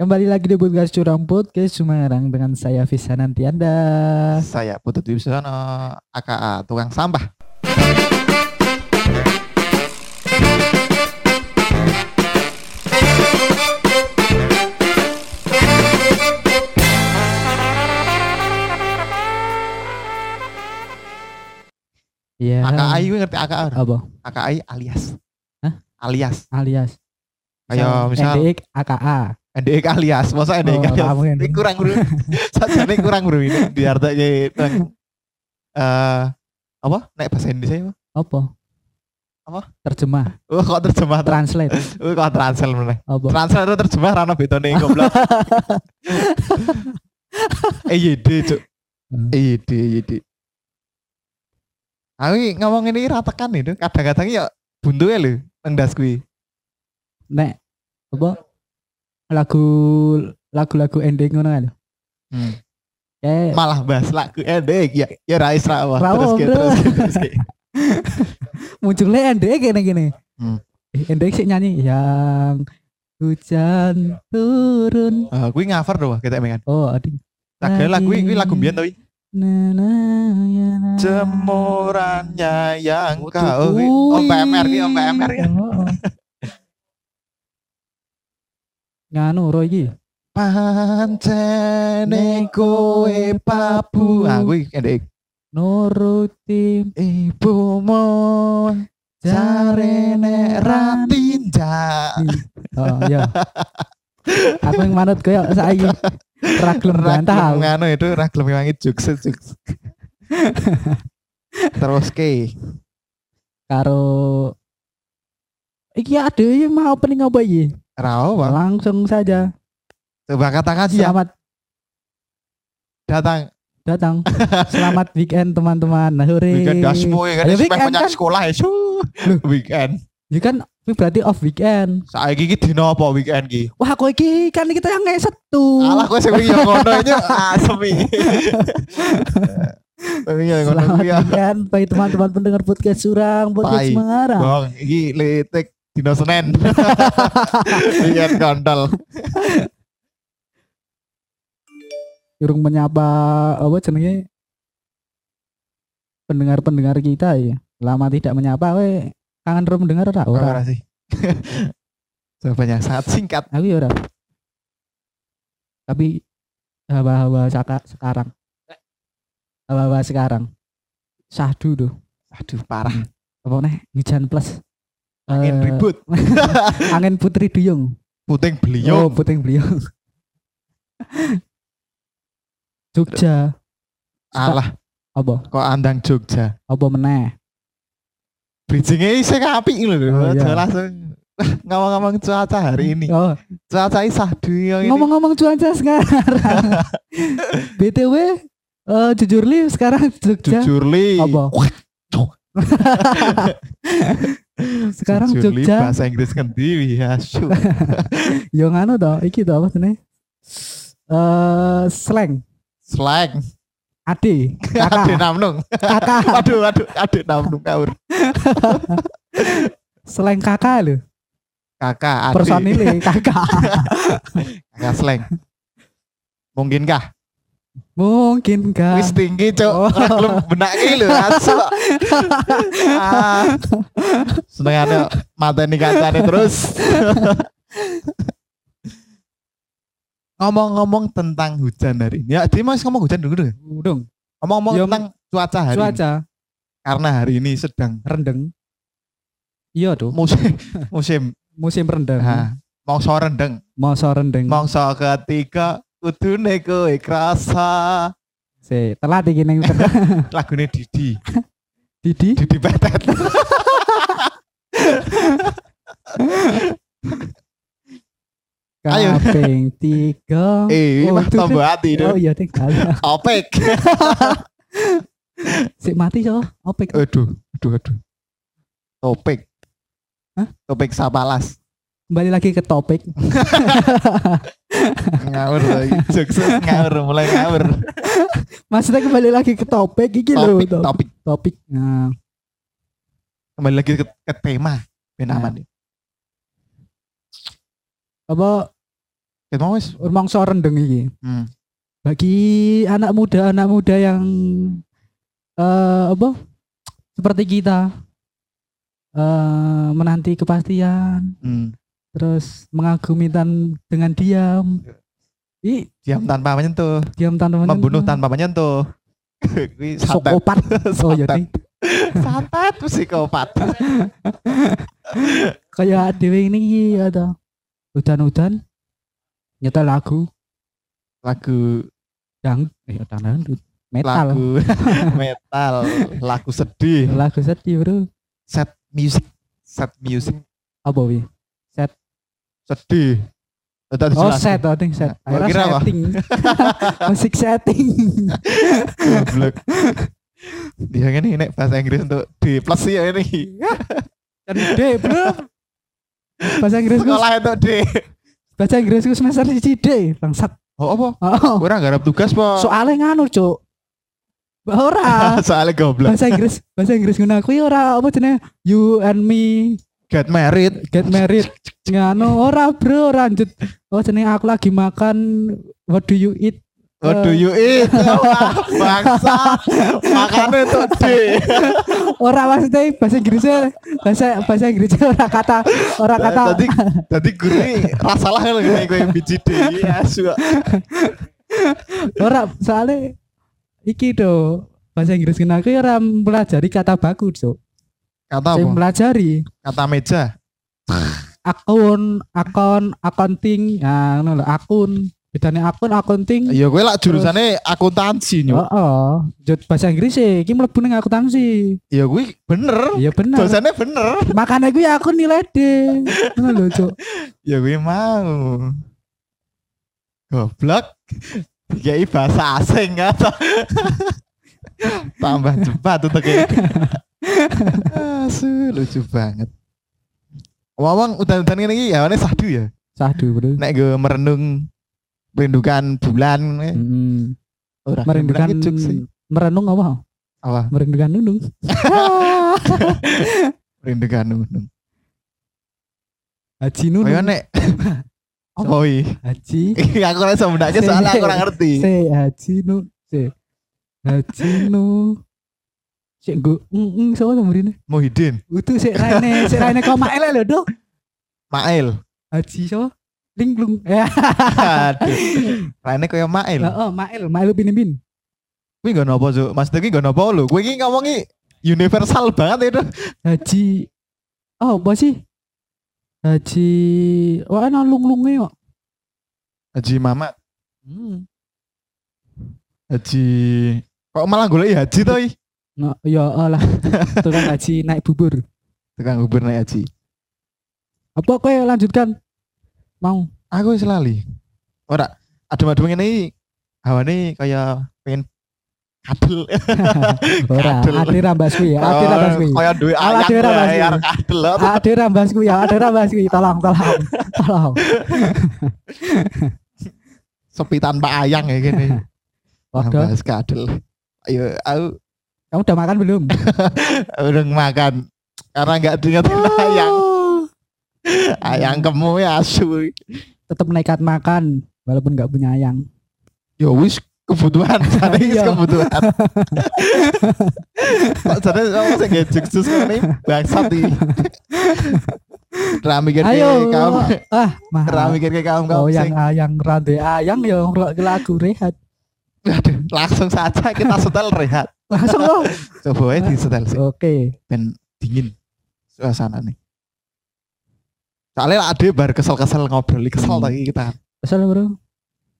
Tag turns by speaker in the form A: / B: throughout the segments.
A: Kembali lagi di Podcast Curang Podcast Semarang dengan saya Visa Nantianda.
B: Saya Putut Wibisono, AKA tukang sampah.
A: Iya.
B: AKA itu ngerti AKA. ora?
A: Apa?
B: AKA alias.
A: Hah?
B: Alias.
A: Alias.
B: Kayak misal
A: NDX AKA.
B: NDK E alias, masa NDK
A: E Oh,
B: alias.
A: kamu yang-
B: Ini kurang bro. Sajane kurang bro ini. Di hartanya itu. Eh apa? Naik bahasa Indonesia apa?
A: Apa?
B: Apa?
A: Terjemah,
B: Oh, kok terjemah? Ter
A: translate.
B: oh, kok translate meneh.
A: Apa?
B: Translate itu terjemah rano betone goblok. EYD, Cuk. E
A: Hmm.
B: EYD, EYD. Aku ini ngomong ini ratakan itu. Kadang-kadang ya buntu ya lho. Nang das kuwi.
A: Nek apa? Lagu lagu-lagu ending ngono kan.
B: Hmm.
A: Eh,
B: malah bahas lagu endek ya ya Rais Rawa
A: Rawa,
B: terus ke
A: bro.
B: terus ke terus ke
A: munculnya NDX gini gini.
B: Hmm.
A: Eh, NDX sih nyanyi yang hujan turun.
B: Eh, kuwi ngaver doh kita emengan
A: Oh, adik.
B: lagu lagu kuwi kuwi lagu biyen tapi
A: Na, na, ya, na.
B: jemurannya yang kau
A: Kuwi.
B: kuwi oh, om PMR kuwi om PMR ya
A: Oh, oh. Nganu ro Ya, iki.
B: pancene kowe papu ah kuwi endek
A: Nuruti
B: ibumu jarene ratinja
A: Oh, iya. Aku yang manut koyo saiki. Ra gelem bantah.
B: Raglem
A: aku.
B: ngano itu raglem wangi jukse jukse terus ke
A: Karo Iki ada iki mau opening apa iki?
B: Rawa
A: Langsung saja.
B: coba katakan sih
A: Selamat
B: datang
A: datang. Selamat weekend teman-teman. Nah, hore.
B: weekend dasmu ya kan
A: Ya,
B: Wis
A: weekend
B: banyak
A: kan.
B: sekolah ya Su. weekend
A: Ya kan ini berarti off weekend.
B: saiki iki dina apa weekend iki
A: Wah, kok iki kan kita yang ngeset tuh.
B: alah kowe sing wingi ya ngono ini asem iki tapi ya ngono
A: Selamat
B: kuwi ya
A: weekend bagi teman-teman pendengar podcast Surang, podcast
B: Bye.
A: Semarang.
B: bong iki letik dina Senin weekend kontol
A: Jurung menyapa apa jenenge? Pendengar-pendengar kita ya. Lama tidak menyapa kowe kangen rum dengar ora ora.
B: ora sih jawabannya sangat singkat
A: Aku ya ora. Tapi hawa-hawa saka- sekarang. Hawa-hawa sekarang. Sahdu tuh.
B: aduh parah
A: Apa nih? Hujan plus.
B: angin
A: Eh,
B: ribut
A: angin putri duyung.
B: puting
A: Oh,
B: beliung
A: puting beliung. Jogja. Oh.
B: alah
A: Apa?
B: kok andang Jogja
A: apa meneh
B: bridgingnya isih apik
A: Oh,
B: lho
A: iya.
B: langsung ngomong-ngomong cuaca hari ini
A: oh,
B: cuaca ini sahdu yang ini.
A: ngomong-ngomong cuaca sekarang btw eh, jujur li sekarang Jogja
B: jujur li
A: Apa?
B: Wah, cok.
A: sekarang
B: Jujur li,
A: Jogja
B: bahasa Inggris ngendi ya syu.
A: yo nganu to iki to apa jenenge eh slang
B: slang
A: ade
B: adik
A: kakak
B: namnung
A: kakak
B: aduh aduh adik namnung kaur
A: slang kakak lho
B: kakak adik
A: personile kakak
B: kakak slang mungkinkah
A: mungkin kan
B: wis tinggi cok
A: Oh.
B: belum benak lho asu ah. senengane mata ini kacane terus ngomong-ngomong tentang hujan hari ini ya dia masih ngomong hujan dulu dulu
A: Udung,
B: ngomong-ngomong
A: Ya,
B: tentang cuaca hari ini
A: cuaca
B: karena hari ini sedang
A: rendeng iya tuh
B: musim musim
A: musim rendeng
B: nah, mongso rendeng
A: masa rendeng
B: mongso ketiga kudune kowe krasa
A: si telat iki ning
B: lagune Didi
A: Didi
B: Didi Petet Ayo.
A: Kaping tiga.
B: eh
A: Oh,
B: mah
A: itu
B: tambah hati
A: Oh
B: itu
A: iya tinggal.
B: opek
A: Sik mati yo. Opik.
B: aduh aduh aduh topik
A: Hah?
B: topik sapalas
A: Kembali lagi ke topik.
B: ngawur lagi sukses ngawur mulai ngawur
A: Maksudnya kembali lagi ke topik iki lho.
B: topik
A: Topik.
B: topik
A: topik. Nah,
B: kembali lagi ke, ke Iya. tema ben
A: Nah.
B: aman
A: apa
B: Ket mau wis.
A: rumangsa rendeng iki.
B: Hmm.
A: Bagi anak muda anak muda yang eh apa? Seperti kita eh menanti kepastian,
B: Hmm.
A: terus mengagumi tan dengan diam. Ih,
B: Diam tanpa menyentuh,
A: diam tanpa menyentuh.
B: Ya. membunuh tanpa menyentuh. Kuwi santet.
A: Sokopat. Oh iya
B: Santet.
A: nih.
B: Santet psikopat.
A: Kayak dewe ini iki ada udan-udan nyetel lagu
B: Lagu
A: dang eh dangdut metal.
B: lagu metal, lagu sedih.
A: Lagu sedih, Bro.
B: Set music, set music
A: Apa wi?
B: sedih. Tetap
A: Oh
B: dijelasin.
A: set, I think set.
B: Nah,
A: Akhirnya
B: kira apa?
A: setting. Musik setting.
B: Goblok. Dia kan ini nek bahasa Inggris untuk D plus sih ya ini.
A: Dan D bro. Bahasa Inggris ku-
B: Kan Sekolah untuk D.
A: bahasa Inggris ku semester siji D, bangsat.
B: Oh apa?
A: Oh,
B: Kurang garap tugas pak.
A: soalnya nganu, Cuk. Ora.
B: Soalnya goblok.
A: Bahasa Inggris, bahasa Inggris ngono kuwi ora apa jenenge you and me
B: Get married.
A: get married. Nganu ora bro, lanjut. Oh jenenge aku lagi makan what do you eat?
B: What do you
A: Eh.
B: eat? Wah, Bangsa. Makannya untuk D.
A: Ora maksudnya bahasa Inggrisnya bahasa bahasa Inggrisnya ora kata ora kata
B: Tadi tadi guru ini rasalah kalau kayak gue yang biji D. Ya suka.
A: ora soalnya iki do bahasa Inggris kena aku ya ora mempelajari kata baku so
B: Kata
A: saya
B: apa?
A: mempelajari
B: Kata meja.
A: akun akon accounting nah ngono lho, akun bedanya akun accounting
B: Ya gue lah jurusannya
A: oh,
B: akuntansi nyu.
A: oh. Jod- bahasa Inggris sih iki mlebu ning akuntansi
B: Ya gue bener.
A: iya bener
B: Jurusannya bener.
A: makanya gue aku nilai D ngono lho cuk
B: Ya gue mau. Goblok. Dikai bahasa asing atau tambah cepat tuh kayak. Asu lucu banget. Wawang udah-udah ini ya, ini sadu ya.
A: sahdu bro
B: Nek gue merenung merindukan bulan. eh,
A: Mm-mm.
B: orang
A: merindukan
B: bulan kecuk sih.
A: merenung apa
B: Apa?
A: merindukan nunung
B: Merindukan nunung.
A: Haji
B: Oh iya
A: nunung
B: nek. Oh iya.
A: Haji
B: Iya, aku rasa mendaknya soalnya aku kurang ngerti.
A: Se Haji Nu Se Haji Nu Sik nggo ngeng sapa to mrene?
B: Muhyiddin,
A: Utu sik raine, sik raine kok mak elek lho, Dok.
B: Mail.
A: Haji sapa? Linglung. Ya.
B: Aduh. Rene kaya Mail.
A: Heeh, Mail, Mail Oh, bin bin.
B: Kuwi gak nopo, Cuk. Mas Teki gak nopo lho. Kuwi iki ngomongi universal banget itu.
A: Haji Oh, apa sih? Haji Wah, ana lunglunge kok.
B: Haji Mamat,
A: Hmm.
B: Haji Kok malah golek Haji to iki?
A: No, ya lah. Tukang haji naik bubur.
B: Tukang ubur naik Haji.
A: Apa kowe lanjutkan? Mau.
B: Aku wis lali. Ora, adem-adem ngene iki hawane kaya pengen kadel.
A: Ora, ya,
B: Kadel.
A: ati rambas kuwi, ati rambas kuwi.
B: Kaya duwe
A: Ala
B: ayak
A: daerah
B: wae,
A: Basri.
B: arek kadel.
A: ada rambasku ya ada rambasku tolong tolong tolong
B: Sepi tanpa ayang ya gini.
A: waduh
B: Bahas kadel. Ayo, aku
A: kamu udah makan belum
B: udah makan karena nggak diingat ayang ayang kamu ya asu
A: tetap nekat makan walaupun nggak punya ayang
B: ya wis kebutuhan sana wis
A: Iya.
B: kebutuhan kok sana kamu sih nggak juksus ini bangsat ini rame mikir
A: ayo
B: kayak kamu
A: ah
B: rame
A: mahal
B: mikir kayak kamu kamu
A: oh
B: sing.
A: yang ayang rantai ayang ya ngelok ke lagu rehat
B: Aduh, langsung saja kita setel rehat
A: langsung loh
B: coba aja di setel sih
A: oke
B: ben dingin suasana nih soalnya ada bar kesel-kesel ngobrol kesel
A: Hmm.
B: lagi kita
A: kesel bro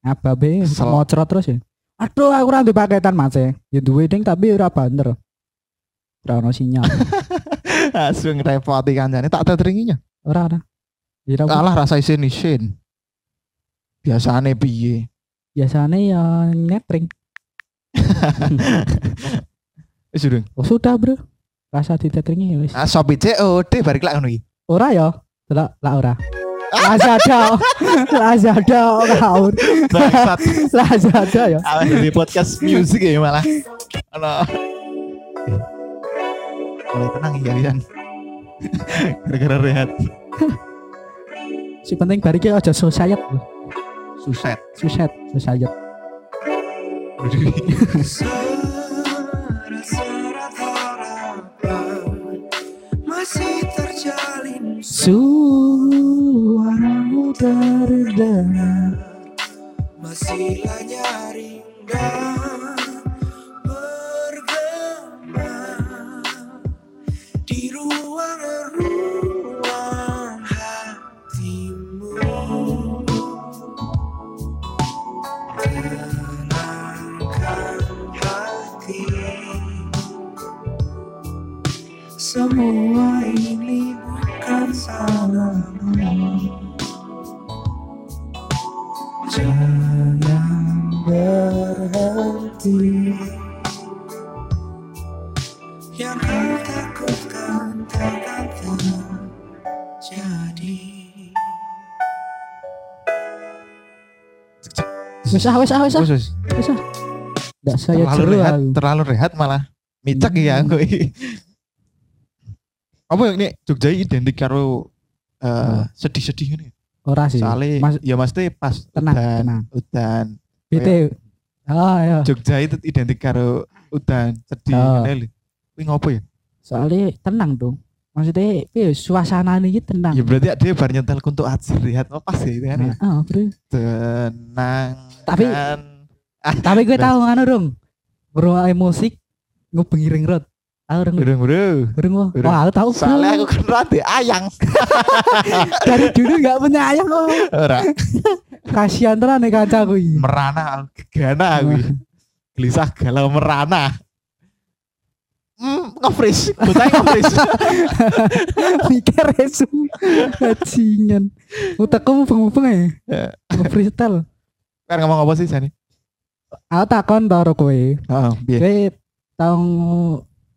A: apa be
B: Kesel.
A: mau cerot terus ya aduh aku rantai paketan mas ya ya duwe ding tapi ora banter ora ono sinyal
B: asu ngerepoti kancane tak teteringinya
A: ora ora Ya, apa?
B: Alah rasa isin isin. Biasane piye?
A: biasanya ya netring
B: Wis durung.
A: Oh, sudah bro rasa di tetringnya ya wis
B: Ah sopi COD balik lak ngono iki.
A: ora ya delok lah ora Lazada Lazada kaun
B: Bangsat.
A: Lazada ya
B: Alah di podcast music ya malah. Ana. Mulai tenang ya Rian. Gara-gara rehat.
A: si penting bariki aja susayet
B: Suset.
A: suset suset
C: Serat-serat harapan masih terjalin
A: suaramu terdengar
C: masihlah nyaring dan bergema di ruangan-ruang hatimu tenangkan hati semua ini bukan salahmu Jangan berhenti Yang kau takutkan takkan terjadi
A: susah wes ah wes ah
B: Khusus.
A: wes ah nggak saya
B: Terlalu
A: jeru
B: rehat,
A: aku.
B: terlalu rehat malah. Micak
A: Hmm.
B: ya aku. Apa yang ini Jogja identik karo eh,
A: Apa?
B: sedih-sedih ini.
A: ora sih
B: Soalnya
A: Mas-
B: ya mesti pas
A: tenang
B: udan,
A: tenang
B: udan.
A: BT oh ya
B: Jogja itu identik karo udan sedih.
A: Oh.
B: ngene lho. Kuwi ngopo ya?
A: soalnya tenang dong maksudnya piye, suasana ini tenang
B: Ya berarti dia bar nyetel untuk atsir rehat apa sih itu kan ya.
A: Iya. Nah, ah, bro.
B: Tenang.
A: Tapi-
B: kan.
A: tapi gue
B: Beres.
A: tahu anu dong berwarna musik ngubengi ring road tahu ring
B: Urung, urung.
A: Burung wah,
B: Burung.
A: wah aku tahu
B: Soalnya
A: Bro.
B: aku kenal di ayang.
A: dari dulu nggak punya ayah kok.
B: Ora
A: Kasihan tenan nih kancaku iki.
B: merana gegana aku.
A: Nah.
B: Gelisah galau merana. Hmm, nge-freeze. Bocahnya nge-freeze.
A: Mikir resu. Bajingan. Utekku mubeng-mubeng ya.
B: Ya.
A: Freestyle.
B: Kan ngomong apa sih Sani?
A: Aku takon to karo kowe.
B: Heeh, piye?
A: Kowe tau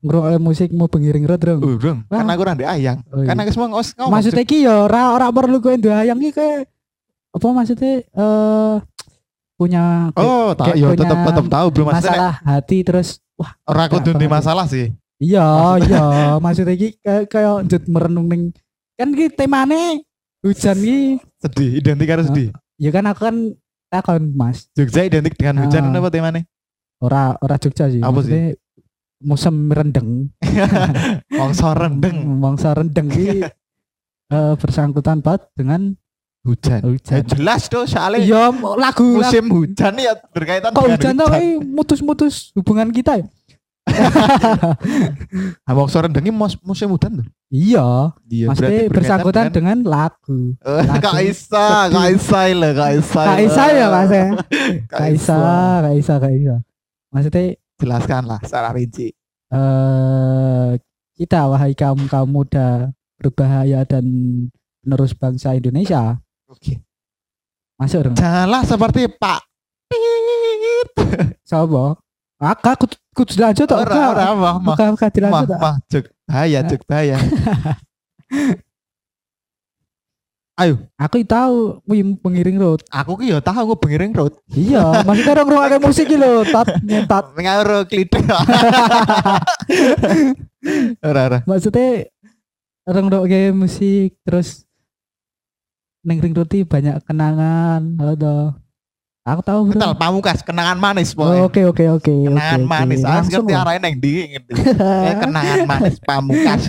A: ngrungokne musik mau pengiring road dong.
B: Urung, kan aku ora ndek ayang.
A: Oh,
B: Kan
A: iya.
B: aku semua ngos ngomong.
A: Maksudnya iki ya ora ora perlu kowe duwe ayam iki kowe apa maksudnya eh punya
B: Oh,
A: kayak
B: tak ya
A: punya
B: tetep tetep tahu bro maksudnya. nek
A: masalah hati terus wah
B: Ora kudu
A: Kenapa?
B: ndek masalah sih.
A: Iya, iya, maksudnya iki kayak kayak njut merenung ning kan iki temane hujan iki.
B: Sedih, identik harus sedih.
A: Ya kan aku kan takon Mas.
B: Jogja identik dengan
A: Ah.
B: hujan apa temane?
A: Ora ora Jogja sih.
B: Apa sih?
A: maksudnya Musim rendeng.
B: Mongso rendeng
A: Mangsa rendeng iki eh, bersangkutan banget dengan
B: hujan. Ya,
A: hujan.
B: jelas tuh soalnya
A: Iya, lagu lagu-
B: musim hujan ya berkaitan
A: kok hujan tau kayak mutus-mutus hubungan kita ya?
B: Ah, mongso rendengnya mos- musim hujan tuh.
A: Iya,
B: Iya,
A: maksudnya bersangkutan dengan lagu.
B: Kak
A: lagu
B: Isa, Kak
A: sedih.
B: Isa lah, Kak Isa.
A: Kak
B: lah.
A: Isa ya Mas ya.
B: Kak
A: Kak Isa,
B: Isa.
A: Kak Isa, Kak Isa. Maksudnya
B: Jelaskanlah secara rinci.
A: eh kita wahai kaum kaum muda berbahaya dan penerus bangsa Indonesia
B: Oke.
A: masuk dong
B: Janganlah seperti Pak Pit.
A: sobo Aka kudu kudu lanjut tok
B: Ora, ora, mah, mah,
A: buka buka
B: mah,
A: dilanjut tok
B: mah, cek bahaya, cek bahaya.
A: aku tahu wim pengiring road
B: Aku ki ya tahu aku pengiring road.
A: iya maksudnya orang ruang musik iki lho tat nyetat
B: Ngaruh klitik. Ora, ora.
A: maksudnya orang ruang musik terus neng ring road iki banyak kenangan atau aku tahu bro
B: Kental pamukas, kenangan manis
A: Oh,
B: pokoknya.
A: oke oke oke
B: Kenangan
A: oke, oke.
B: manis, aku
A: Langsung
B: ngerti ah. Eh,
A: lah.
B: arahnya yang dingin. Kenangan manis pamukas,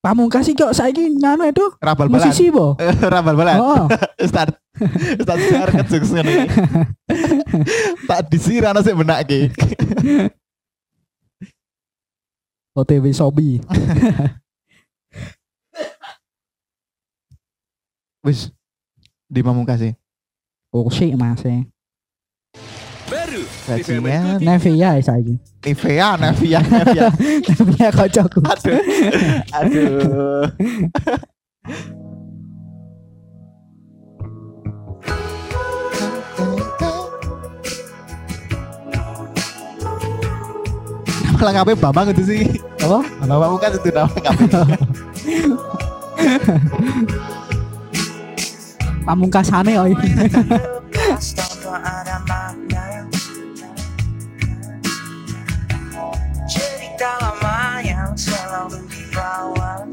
A: Pamungkas iki kok saiki nganu itu
B: rabal balan,
A: musisi po.
B: rabal balan.
A: Oh,
B: Ustaz. Ustaz Jar kejeks ngene. Tak disirana sik benake.
A: OTW Sobi.
B: Wis di pamungkas sih.
A: Oh, sik Mas. eh.
C: baru
B: Gajinya
A: Nevia ya saiki.
B: Nivea, Nivea, Nivea.
A: Nevia kocokku.
B: Aduh. Aduh. Malah ngapain Bambang itu sih?
A: Apa?
B: Nama pamungkas itu nama ngapain?
A: Pamungkasane kok iki.
C: Lepas tanpa ada makna Cerita lama yang selalu dibawa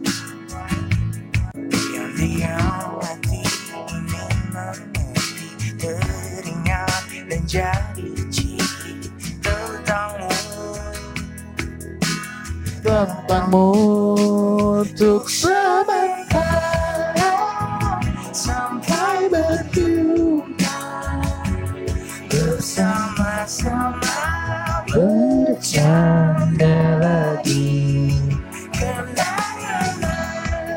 C: Diam-diam hati ini menangis dan jadi cinta tentangmu
B: tentangmu untuk sementara
C: sampai
B: sampai berjumpa
C: bersama-sama
B: bercanda lagi
C: kenangan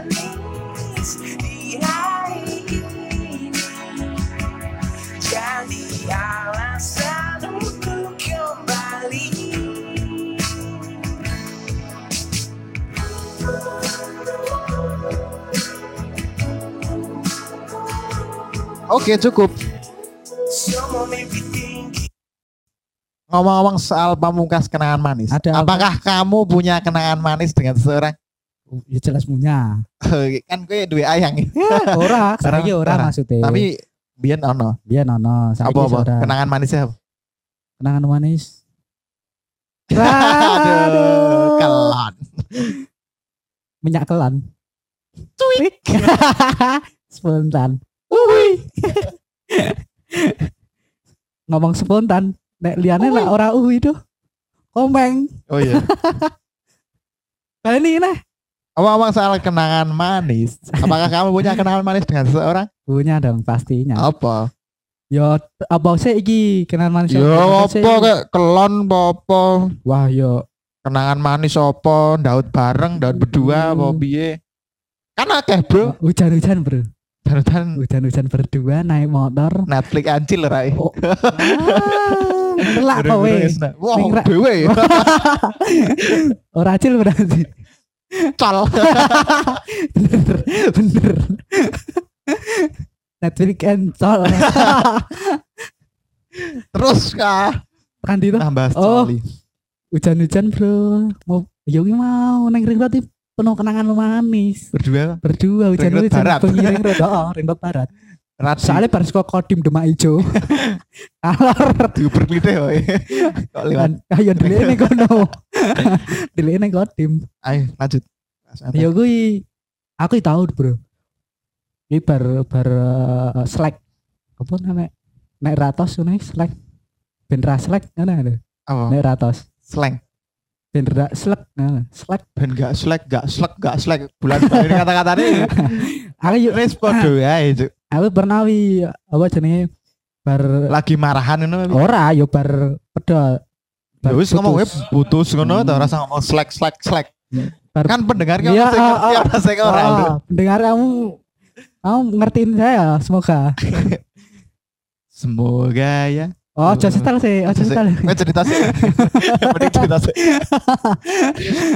C: manis di hari ini jadi alasan untuk kembali
B: oke cukup
C: semua mimpi tinggi
B: ngomong-ngomong soal pamungkas kenangan manis
A: Ada apa?
B: apakah kamu punya kenangan manis dengan seorang
A: ya jelas punya
B: kan gue dua ayang
A: ora saiki
B: Orang-
A: ora
B: orang.
A: maksudnya
B: tapi biyen ono
A: biar nono saiki
B: apa apa
A: ora.
B: kenangan manisnya apa?
A: kenangan manis
B: aduh
A: Aduh.
B: kelon
A: minyak kelan tweet spontan ngomong spontan nek liane lah ora uwi tuh komeng
B: oh iya
A: ini nah
B: Ngomong-ngomong soal kenangan manis, apakah kamu punya kenangan manis dengan seseorang?
A: punya dong pastinya
B: Apa?
A: yo t- apa sih iki kenangan manis
B: Ya
A: apa sih?
B: apa kek kelon apa apa?
A: wah yo
B: Kenangan manis apa? Daud bareng, daud berdua apa
A: Hmm.
B: piye? Kan akeh, Bro.
A: hujan-hujan bro
B: Darutan
A: hujan-hujan berdua naik motor
B: Netflix eh. ancil rai.
A: Oh. Ah, telak kowe
B: nah. Wah,
A: Ning ra-
B: dhewe ya,
A: ora acil berarti
B: col.
A: bener bener Netflix cancel
B: Terus kah?
A: kan itu
B: Nambah
A: Oh.
B: coli.
A: hujan-hujan bro mau ya ini mau neng ring road ini penuh kenangan manis
B: Berdua
A: berdua
B: Ring road
A: hujan-hujan
B: barat.
A: bengi ring road oh, ring road barat
B: Rati
A: soalnya baris kok kodim demak ijo alor
B: diuber-uber kowe. Kok lewat.
A: Kan, ayo dilihat nih kono dilihat nih kodim
B: Ayo lanjut.
A: ya gue aku tahu bro ini bar bar eh, slack apa namanya naik ratos nih slack ben ra slack mana ada
B: Apa?
A: naik ratos
B: Slang.
A: ben ra slack nah, slack
B: ben gak slack gak slack gak slack bulan baru kata-kata ini
A: aku yuk
B: respon doa itu
A: aku pernah wi apa jenenge bar
B: lagi marahan ngono
A: ora yo bar pedol
B: ya wis ngomong web
A: putus.
B: putus
A: Hmm.
B: ngono ta rasa ngomong slack slack slack
A: Bar-
B: kan pendengar kan
A: Iya,
B: masih
A: Ya, ah, ah.
B: ngerti apa sing
A: Wah,
B: ora lho.
A: pendengar kamu kamu ngertiin saya semoga
B: semoga ya
A: oh just setel sih oh
B: Aja
A: just
B: sih.
A: setel
B: Nggak, cerita sih mending cerita sih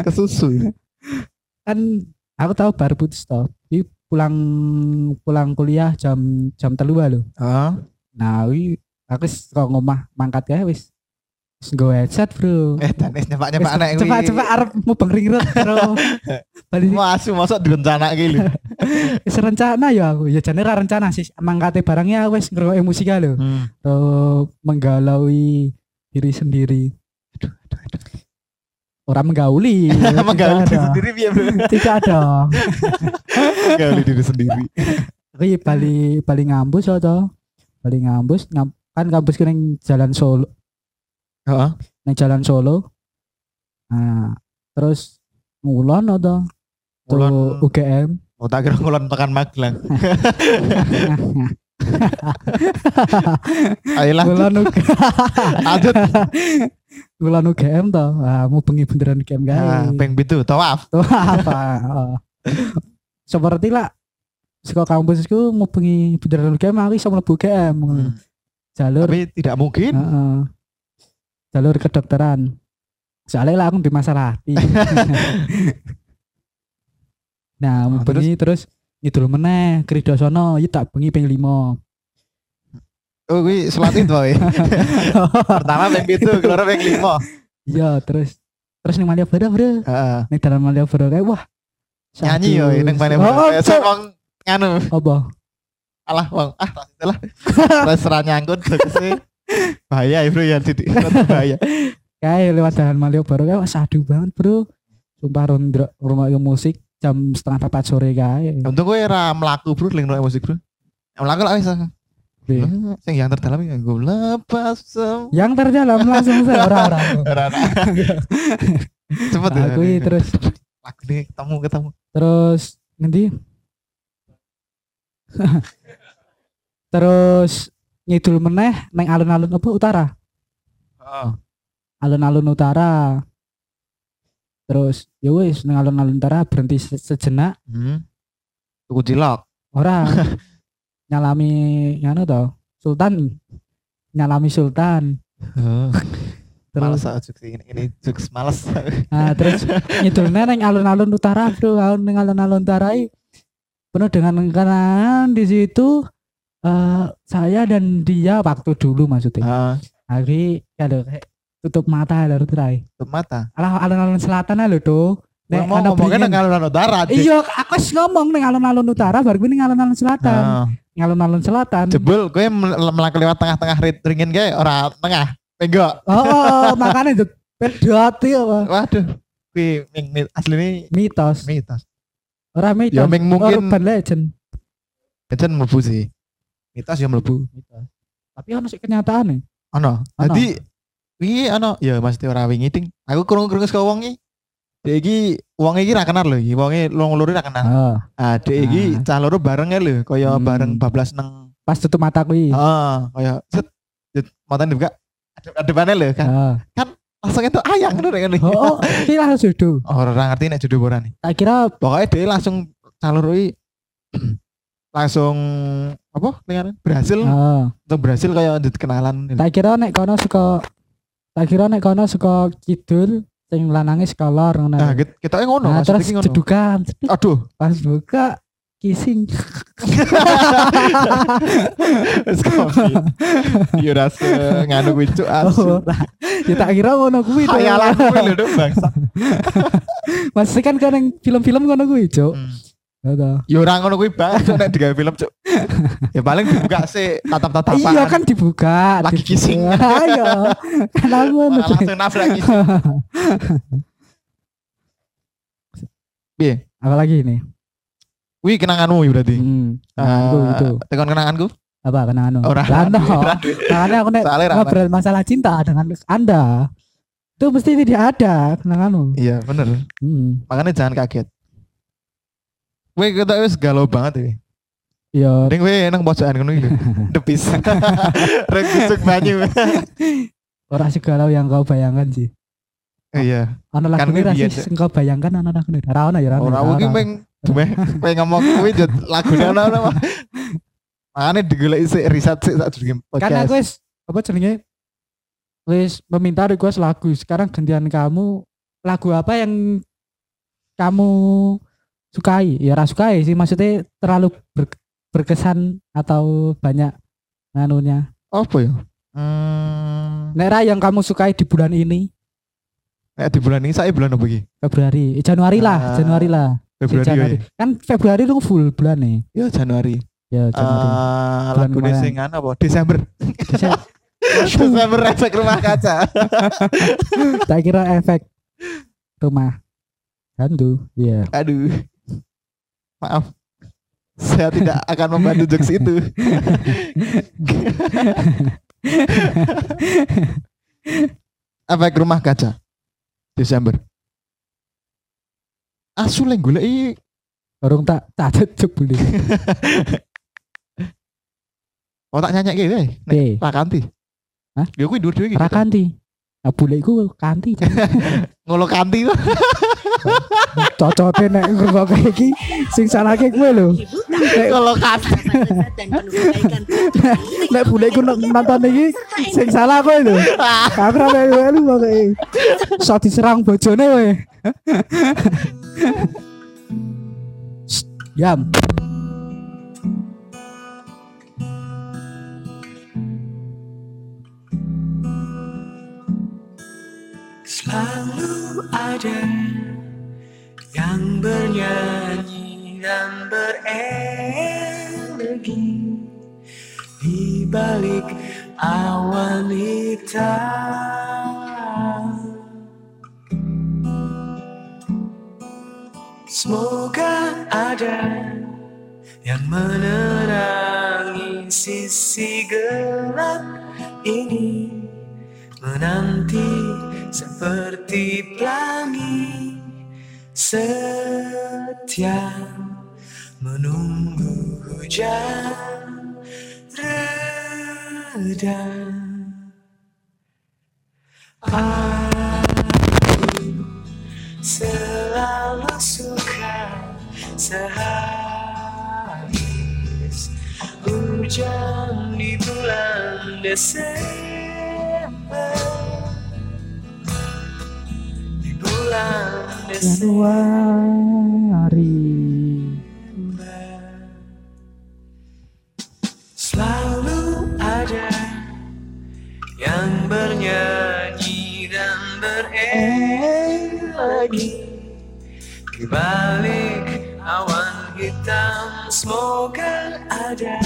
B: kesusu
A: kan aku tahu baru putus toh Jadi pulang pulang kuliah jam jam telu lho
B: Heeh.
A: nah wi aku wis kok ngomah mangkat ya wis wis nggo headset bro
B: eh tanis nyepak nyepak anak
A: cepat cepat arep mau ring road bro balik
B: Wah, asu masuk direncana gitu.
A: wis rencana ya aku ya jane ra rencana sih mangkate barangnya aku wis ngrungokke musik ae lho
B: Hmm.
A: Terus menggalaui diri sendiri orang menggauli tidak
B: Menggali diri
A: ada.
B: sendiri piye, Bro?
A: tidak ada
B: Menggali diri sendiri.
A: Tapi iya Bali Bali ngampus atau Bali ngampus ngam- kan kampus ku ning Jalan Solo,
B: Heeh.
A: ning Jalan Solo. Nah, terus ngulon atau
B: Ngulon.
A: Tuh UGM.
B: Oh, tak kira ngulon tekan Magelang. Ayolah,
A: ngulon UGM.
B: lanjut.
A: ngulon UGM toh. Ah, mau bengi beneran UGM
B: Ah,
A: kae.
B: peng pitu, tawaf.
A: Tuh apa? Oh. Seperti lah sekolah kampusku mau bengi beneran UGM aku iso mlebu UGM.
B: Hmm.
A: Jalur
B: Tapi tidak mungkin.
A: Heeh. jalur kedokteran soalnya lah aku di masalah hati nah
B: Ah,
A: bengi terus ngidul meneh krido sono iki tak bengi ping 5
B: Oh, gue selat itu wae. Pertama peng pitu, keluar peng limo.
A: iya terus terus ning Malioboro bro
B: Heeh.
A: ning dalam Malioboro kayak wah
B: Nyanyi yo
A: sadus.
B: ning paling
A: oh, oh,
B: besok
A: cok.
B: wong nganu.
A: apa
B: Alah wong ah salah. Terus ra nyangkut tegese. Bahaya ya, Bro ya titik. Bahaya.
A: kayak lewat dalam Malioboro kayak wah sadu banget bro sumpah rondro rumah musik jam setengah papat sore kayak Iya.
B: Untung gue ra mlaku, Bro, ling nang musik, Bro. Mlaku lah wis.
A: Piye?
B: Ah, Sing yang terdalam yang gue lepas sem.
A: yang terdalam langsung saya orang-orang
B: Ora, ora. Cepet ya.
A: aku
B: ini.
A: terus
B: Lagu ini ketemu ketemu.
A: terus nanti terus nyidul meneh neng alun-alun apa utara
B: Heeh.
A: alun-alun utara terus ya wis neng alun-alun utara berhenti se- sejenak
B: Hmm. Tuku cilok.
A: ora nyalami nganu to sultan nyalami sultan
B: Males
A: terus
B: aku jokes ini. Ini jokes males.
A: nah, terus nyidulnya neng alun-alun utara bro alun neng alun-alun utara i, penuh dengan kenangan di situ eh, saya dan dia waktu dulu maksudnya
B: Heeh.
A: hari kalau tutup mata ya lho terai
B: Tutup mata.
A: alah alun-alun selatan lho tuh
B: Nek mau ngomongin nang alun utara. Dik.
A: Iya, aku wis ngomong ning alun-alun utara, baru gue ning alun-alun selatan.
B: Heeh.
A: Ning alun-alun selatan.
B: Jebul gue mel- melangkah lewat tengah-tengah rit- ringin gue ora tengah. Tengok.
A: Oh, oh makanya itu pedot ya, apa?
B: Waduh. Kuwi ming ming- asli ini
A: Mitos.
B: mitos.
A: Ora mitos.
B: Ya ming mungkin
A: urban legend.
B: Jan mlebu sih. Mitos ya mlebu.
A: Tapi ono sik e. kenyataane.
B: Ano.
A: Ono.
B: Jadi wingi ano ya mesti ora wingi ting. Aku krungu-krungu saka wong iki. Dek iki wong iki ra kenal lho, iki wonge wong loro ra kenal.
A: Heeh.
B: Ah, dek iki
A: Ah.
B: cah loro bareng ae lho, kaya
A: Hmm. Iya.
B: bareng bablas neng.
A: Pas tutup mata kuwi.
B: Heeh, kaya set. Set matan dibuka. Adep adepane lho kan.
A: Heeh.
B: Langsung itu ayang ngono rek ngene.
A: Iya. Oh, oh, iki lah sudu.
B: Ora ra ngerti nek judul ora
A: Tak kira
B: Pokoknya dia langsung cah loro iki langsung apa dengaran berhasil
A: heeh.
B: untuk berhasil kayak kenalan
A: Tak kira nek kono suka tak kira nek kono suka kidul sing lanange saka lor ngono.
B: Nah, kita kita ngono,
A: Nah,
B: maksudnya
A: terus
B: ki ngono.
A: cedukan, ceduk.
B: Aduh,
A: pas buka kissing.
B: wis kopi.
A: Iya,
B: Yo rasa nganu kuwi cuk asu.
A: Oh, nah, ya tak kira ngono kuwi to.
B: Khayalan kuwi
A: iya.
B: lho Dok, bangsa.
A: Masih kan kan yang film-film ngono kuwi, Cuk.
B: Hmm.
A: Ya toh.
B: Yo ora ngono kuwi banget Cuk, nek digawe film cuk. Ya paling dibuka sih tatap-tatapan.
A: Iya kan dibuka,
B: Lagi
A: dibuka.
B: kissing.
A: Ayo. Kan aku
B: Malah
A: ngono.
B: langsung nabrak gitu. Piye?
A: Apalagi ini.
B: Kuwi kenanganmu ya berarti.
A: Hmm. Kenanganku
B: Eh,
A: itu.
B: Tekan kenanganku?
A: Apa kenangan?
B: Ora.
A: Lano.
B: Ora duwe.
A: Makanya aku nek
B: Soalnya ra-
A: ngobrol masalah cinta dengan Anda. Itu mesti tidak ada kenanganmu.
B: Iya, bener.
A: Hmm.
B: Makanya jangan kaget. Kuwi kita wis galau banget iki.
A: Yo.
B: Ning kowe nang pojokan ngono iki. lho. Depis. Rek busuk banyu.
A: Ora segalau yang kau bayangkan sih.
B: Iya.
A: Ono lagu
B: Kan kuwi
A: ini
B: biyen,
A: sih sing kau bayangkan ono lagu ini. Ora ono ya ora ono,
B: Ora
A: ora
B: mungkin
A: ono.
B: peng dumeh peng ngomong kuwi jut lagune ana ana. Makane digoleki sik riset sik sak durunge
A: kan aku wis apa jenenge wis meminta request lagu sekarang gantian kamu lagu apa yang kamu sukai ya ora sukai sih maksudnya terlalu ber- berkesan atau banyak nganunya
B: Apa ya? Hmm,
A: nek ra yang kamu sukai di bulan ini
B: nek di bulan ini saya bulan apa iki?
A: Februari eh, Januari
B: Ah,
A: lah Januari lah
B: Februari.
A: Januari. kan Februari itu full bulan nih
B: Ya, ya Januari.
A: ya Januari
B: Eh
A: Bulan
B: lagune
A: kemarin.
B: sing ana apa? Desember.
A: Bisa,
B: Desember efek rumah kaca.
A: tak kira efek rumah hantu ya
B: Aduh. Maaf. Saya tidak akan membantu jokes itu. Efek rumah kaca. Desember. Asu leng goleki
A: orang tak catet jebule
B: otak nyanyi gitu ya. Nek
A: Piye?
B: rakanti.
A: Iya. Hah?
B: Ya kuwi dhuwur iki.
A: Ra Eh, kanti. Nah, bule iku kanti. Jan.
B: Ngolo kanti to.
A: Cocote nek ngrungokke iki sing salahke kowe lho.
D: Ibu tak
A: Nek,
B: Ngolo kanti.
D: lezat dan penuh kebaikan.
A: nek bule iku nek nonton iki sing salah kowe lho. Aku ra melu lu pokoke. So diserang bojone kowe. Shh, Yam.
C: Selalu ada yang bernyanyi dan berenergi di balik awan hitam. Semoga ada yang menerangi sisi gelap ini menanti seperti pelangi setia menunggu hujan reda. Aku selalu suka sehabis hujan di bulan Desember di bulan Desember
A: Januari
C: Selalu ada yang bernyanyi dan berenergi di balik awan hitam. Semoga ada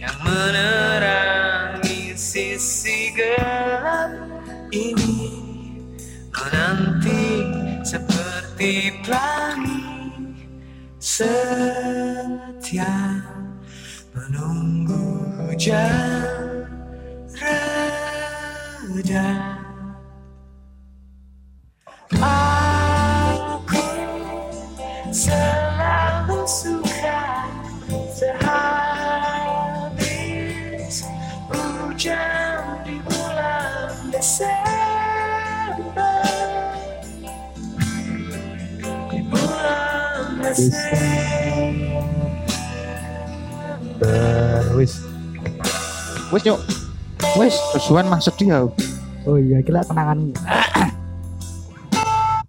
C: yang menerangi sisi gelap ini menanti seperti pelangi setia menunggu hujan reda. Aku selalu suka sehabis hujan di bulan Desember. Di bulan Desember.
B: Wis. Wis nyuk. Wis, kesuwen Mas sedih aku.
A: oh iya kita kenangan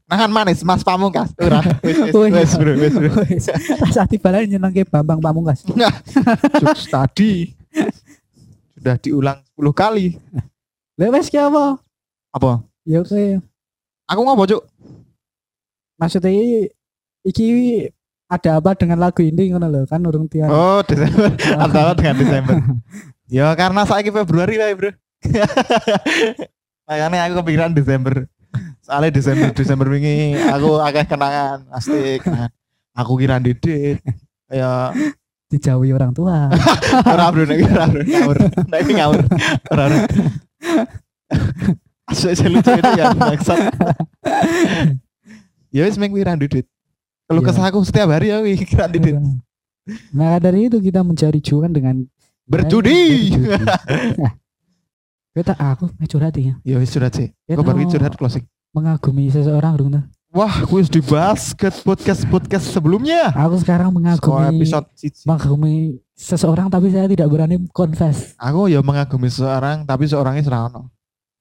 B: Nahan manis Mas Pamungkas. Ora. Wis wis
A: Oh iya.
B: wis bro, wis bro.
A: rasa tiba lagi nyenang ke Bambang Pamungkas
B: Nah, jokes tadi sudah diulang 10 kali.
A: lah wes ki apa
B: Apa?
A: ya oke
B: Aku ngopo, Cuk?
A: maksudnya i- iki ada apa dengan lagu ini ngono lho kan urung tiar
B: Oh, Desember. Antara dengan Desember. ya karena saiki Februari lah, Bro. Makanya aku kepikiran Desember. Soalnya Desember Desember wingi aku akeh kenangan, pasti kenangan. Aku kira didit. Ya
A: dijauhi orang tua
B: ora bro nek ora bro ngawur. Nek iki ngawur. Ora ora. Asik asik lucu itu ya maksud. Ya wis ming kira didit. Kalau
A: Iya.
B: kesah aku setiap hari ya wih, kira didit.
A: nah dari itu kita mencari cuan dengan
B: Berjudi.
A: Nah, Kita aku meh curhat ya.
B: Ya wis curhat sih.
A: Kita
B: Kok
A: mau
B: baru curhat closing.
A: mengagumi seseorang dong. Nah.
B: Wah, kuis dibahas ke podcast-podcast sebelumnya.
A: Aku sekarang mengagumi
B: Sekolah episode siji.
A: mengagumi seseorang tapi saya tidak berani confess.
B: Aku ya mengagumi seorang tapi seorangnya serono.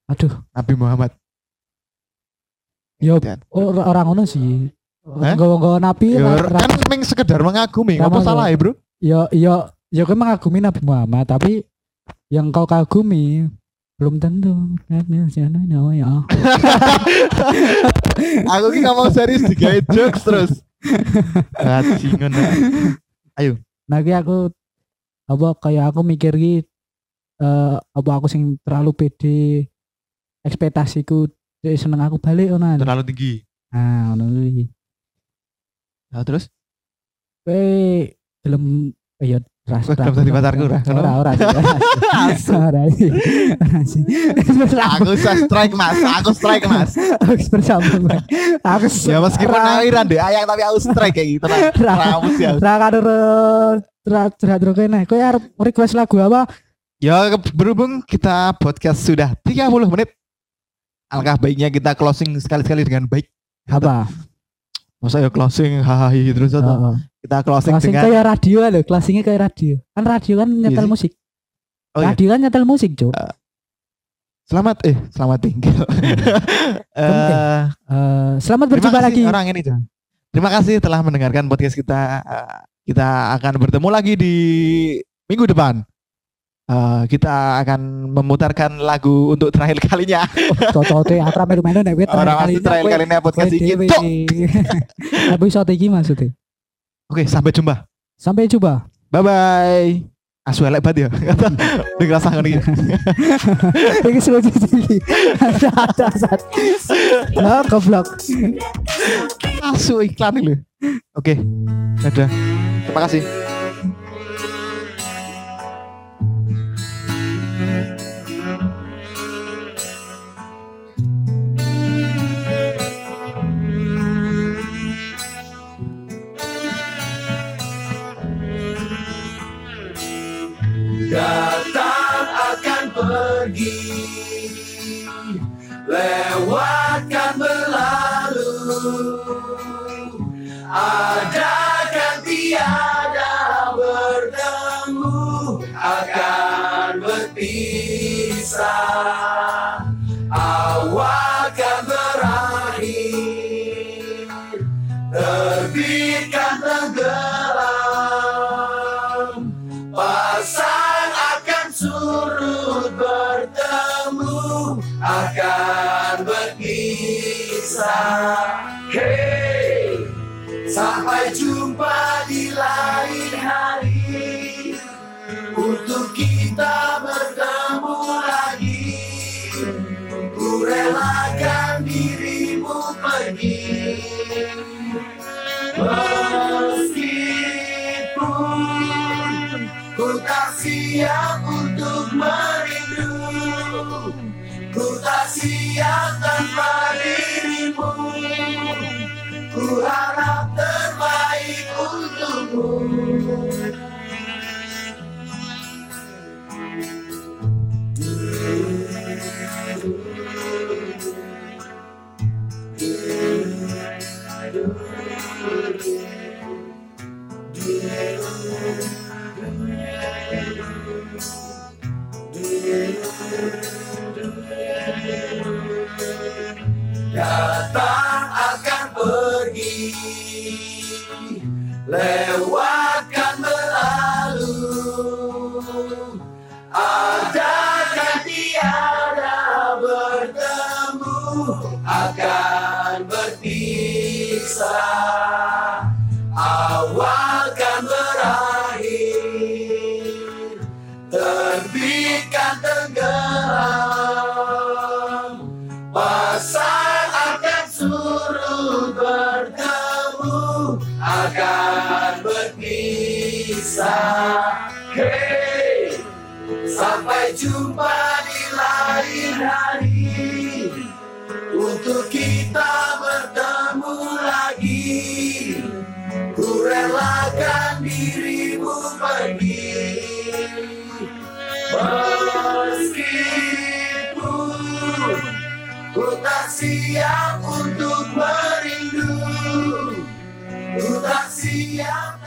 A: Aduh,
B: Nabi Muhammad.
A: yo
B: Dan-
A: or- oh, orang ngono sih.
B: Hah?
A: Gowo-gowo nabi
B: Ya,
A: ra- ra-
B: kan ming sekedar mengagumi,
A: Ra- ra-
B: apa salah ya, Bro?
A: yo yo yo kan mengagumi Nabi Muhammad tapi yang kau kagumi belum tentu. Kan, ya.
B: Aku ki ngomong serius digawe jokes terus. Bajingan.
A: Nah, ki aku apa kayak aku mikir ki eh, apa aku sing terlalu pede ekspektasiku dia seneng aku balik ngono.
B: Terlalu tinggi.
A: Nah, ngono kuwi.
B: Nah, terus
A: Kowe gelem eh, ya ras.
B: Kowe gelem dadi pacarku, Ra? Ngono?
A: Ora ora. sih, ora sih. Ora sih. Ora sih. Wis
B: aku
A: lambung.
B: bisa strike Mas, aku strike Mas.
A: Aku wis bersambung. Bang. Aku s-
B: Ya meskipun
A: ra-
B: awiran deh ayang tapi aku strike kayak gitu. Ra-
A: Ra.
B: Ramus ya.
A: ra karo curhat terus kene. Kowe arep request lagu apa?
B: Ya ke- berhubung kita podcast sudah 30 menit. Alangkah baiknya kita closing sekali-sekali dengan baik.
A: Apa?
B: Masa ya closing hahaha terus atau
A: Heeh.
B: kita closing
A: Closing
B: dengan Iya
A: kayak radio loh, closingnya kayak radio. Kan radio kan nyetel
B: sih.
A: musik.
B: Oh iya. Ah.
A: radio kan nyetel musik, Cuk.
B: selamat eh selamat tinggal. Eh,
A: Eh, selamat
B: terima
A: berjumpa
B: kasih
A: lagi.
B: orang ini. Jon. Terima kasih telah mendengarkan podcast kita. Eh, Kita akan bertemu lagi di minggu depan. Eh, kita akan memutarkan lagu untuk terakhir kalinya.
A: Oh, Cocote atra melu-melu nek kowe terakhir
B: Orang
A: kalinya
B: terakhir
A: kowe-
B: kalinya podcast
A: kowe
B: ini.
A: dhewe.
B: Cok.
A: Episode iki maksudnya.
B: Oke, sampai jumpa.
A: Sampai jumpa.
B: Bye bye. Asu elek banget ya. Dengar rasa ngene.
A: Iki selucu iki. Ada sat. Lah goblok.
B: Asu iklan ini lho. Oke. Dadah. Terima kasih.
C: Terima datang akan pergi lewatkan berlalu ada kan tiada bertemu akan berpisah awal kan berakhir terbitkan tenggelam Pasang akan surut bertemu akan berpisah. Hey, sampai jumpa di lain hari untuk kita bertemu lagi. Ku relakan dirimu pergi meskipun Ku tak siap untuk merindu Ku tak siap tanpa dirimu Ku harap terbaik untukmu datang akan pergi lewatkan berlalu ada kan tiada bertemu akan berpisah awal kan berakhir terbitkan tenggelam pasang akan surut bertemu akan berpisah hey sampai jumpa di lain hari untuk kita bertemu lagi ku relakan dirimu pergi Meskipun ku tak siap untuk merindu, ku tak siap.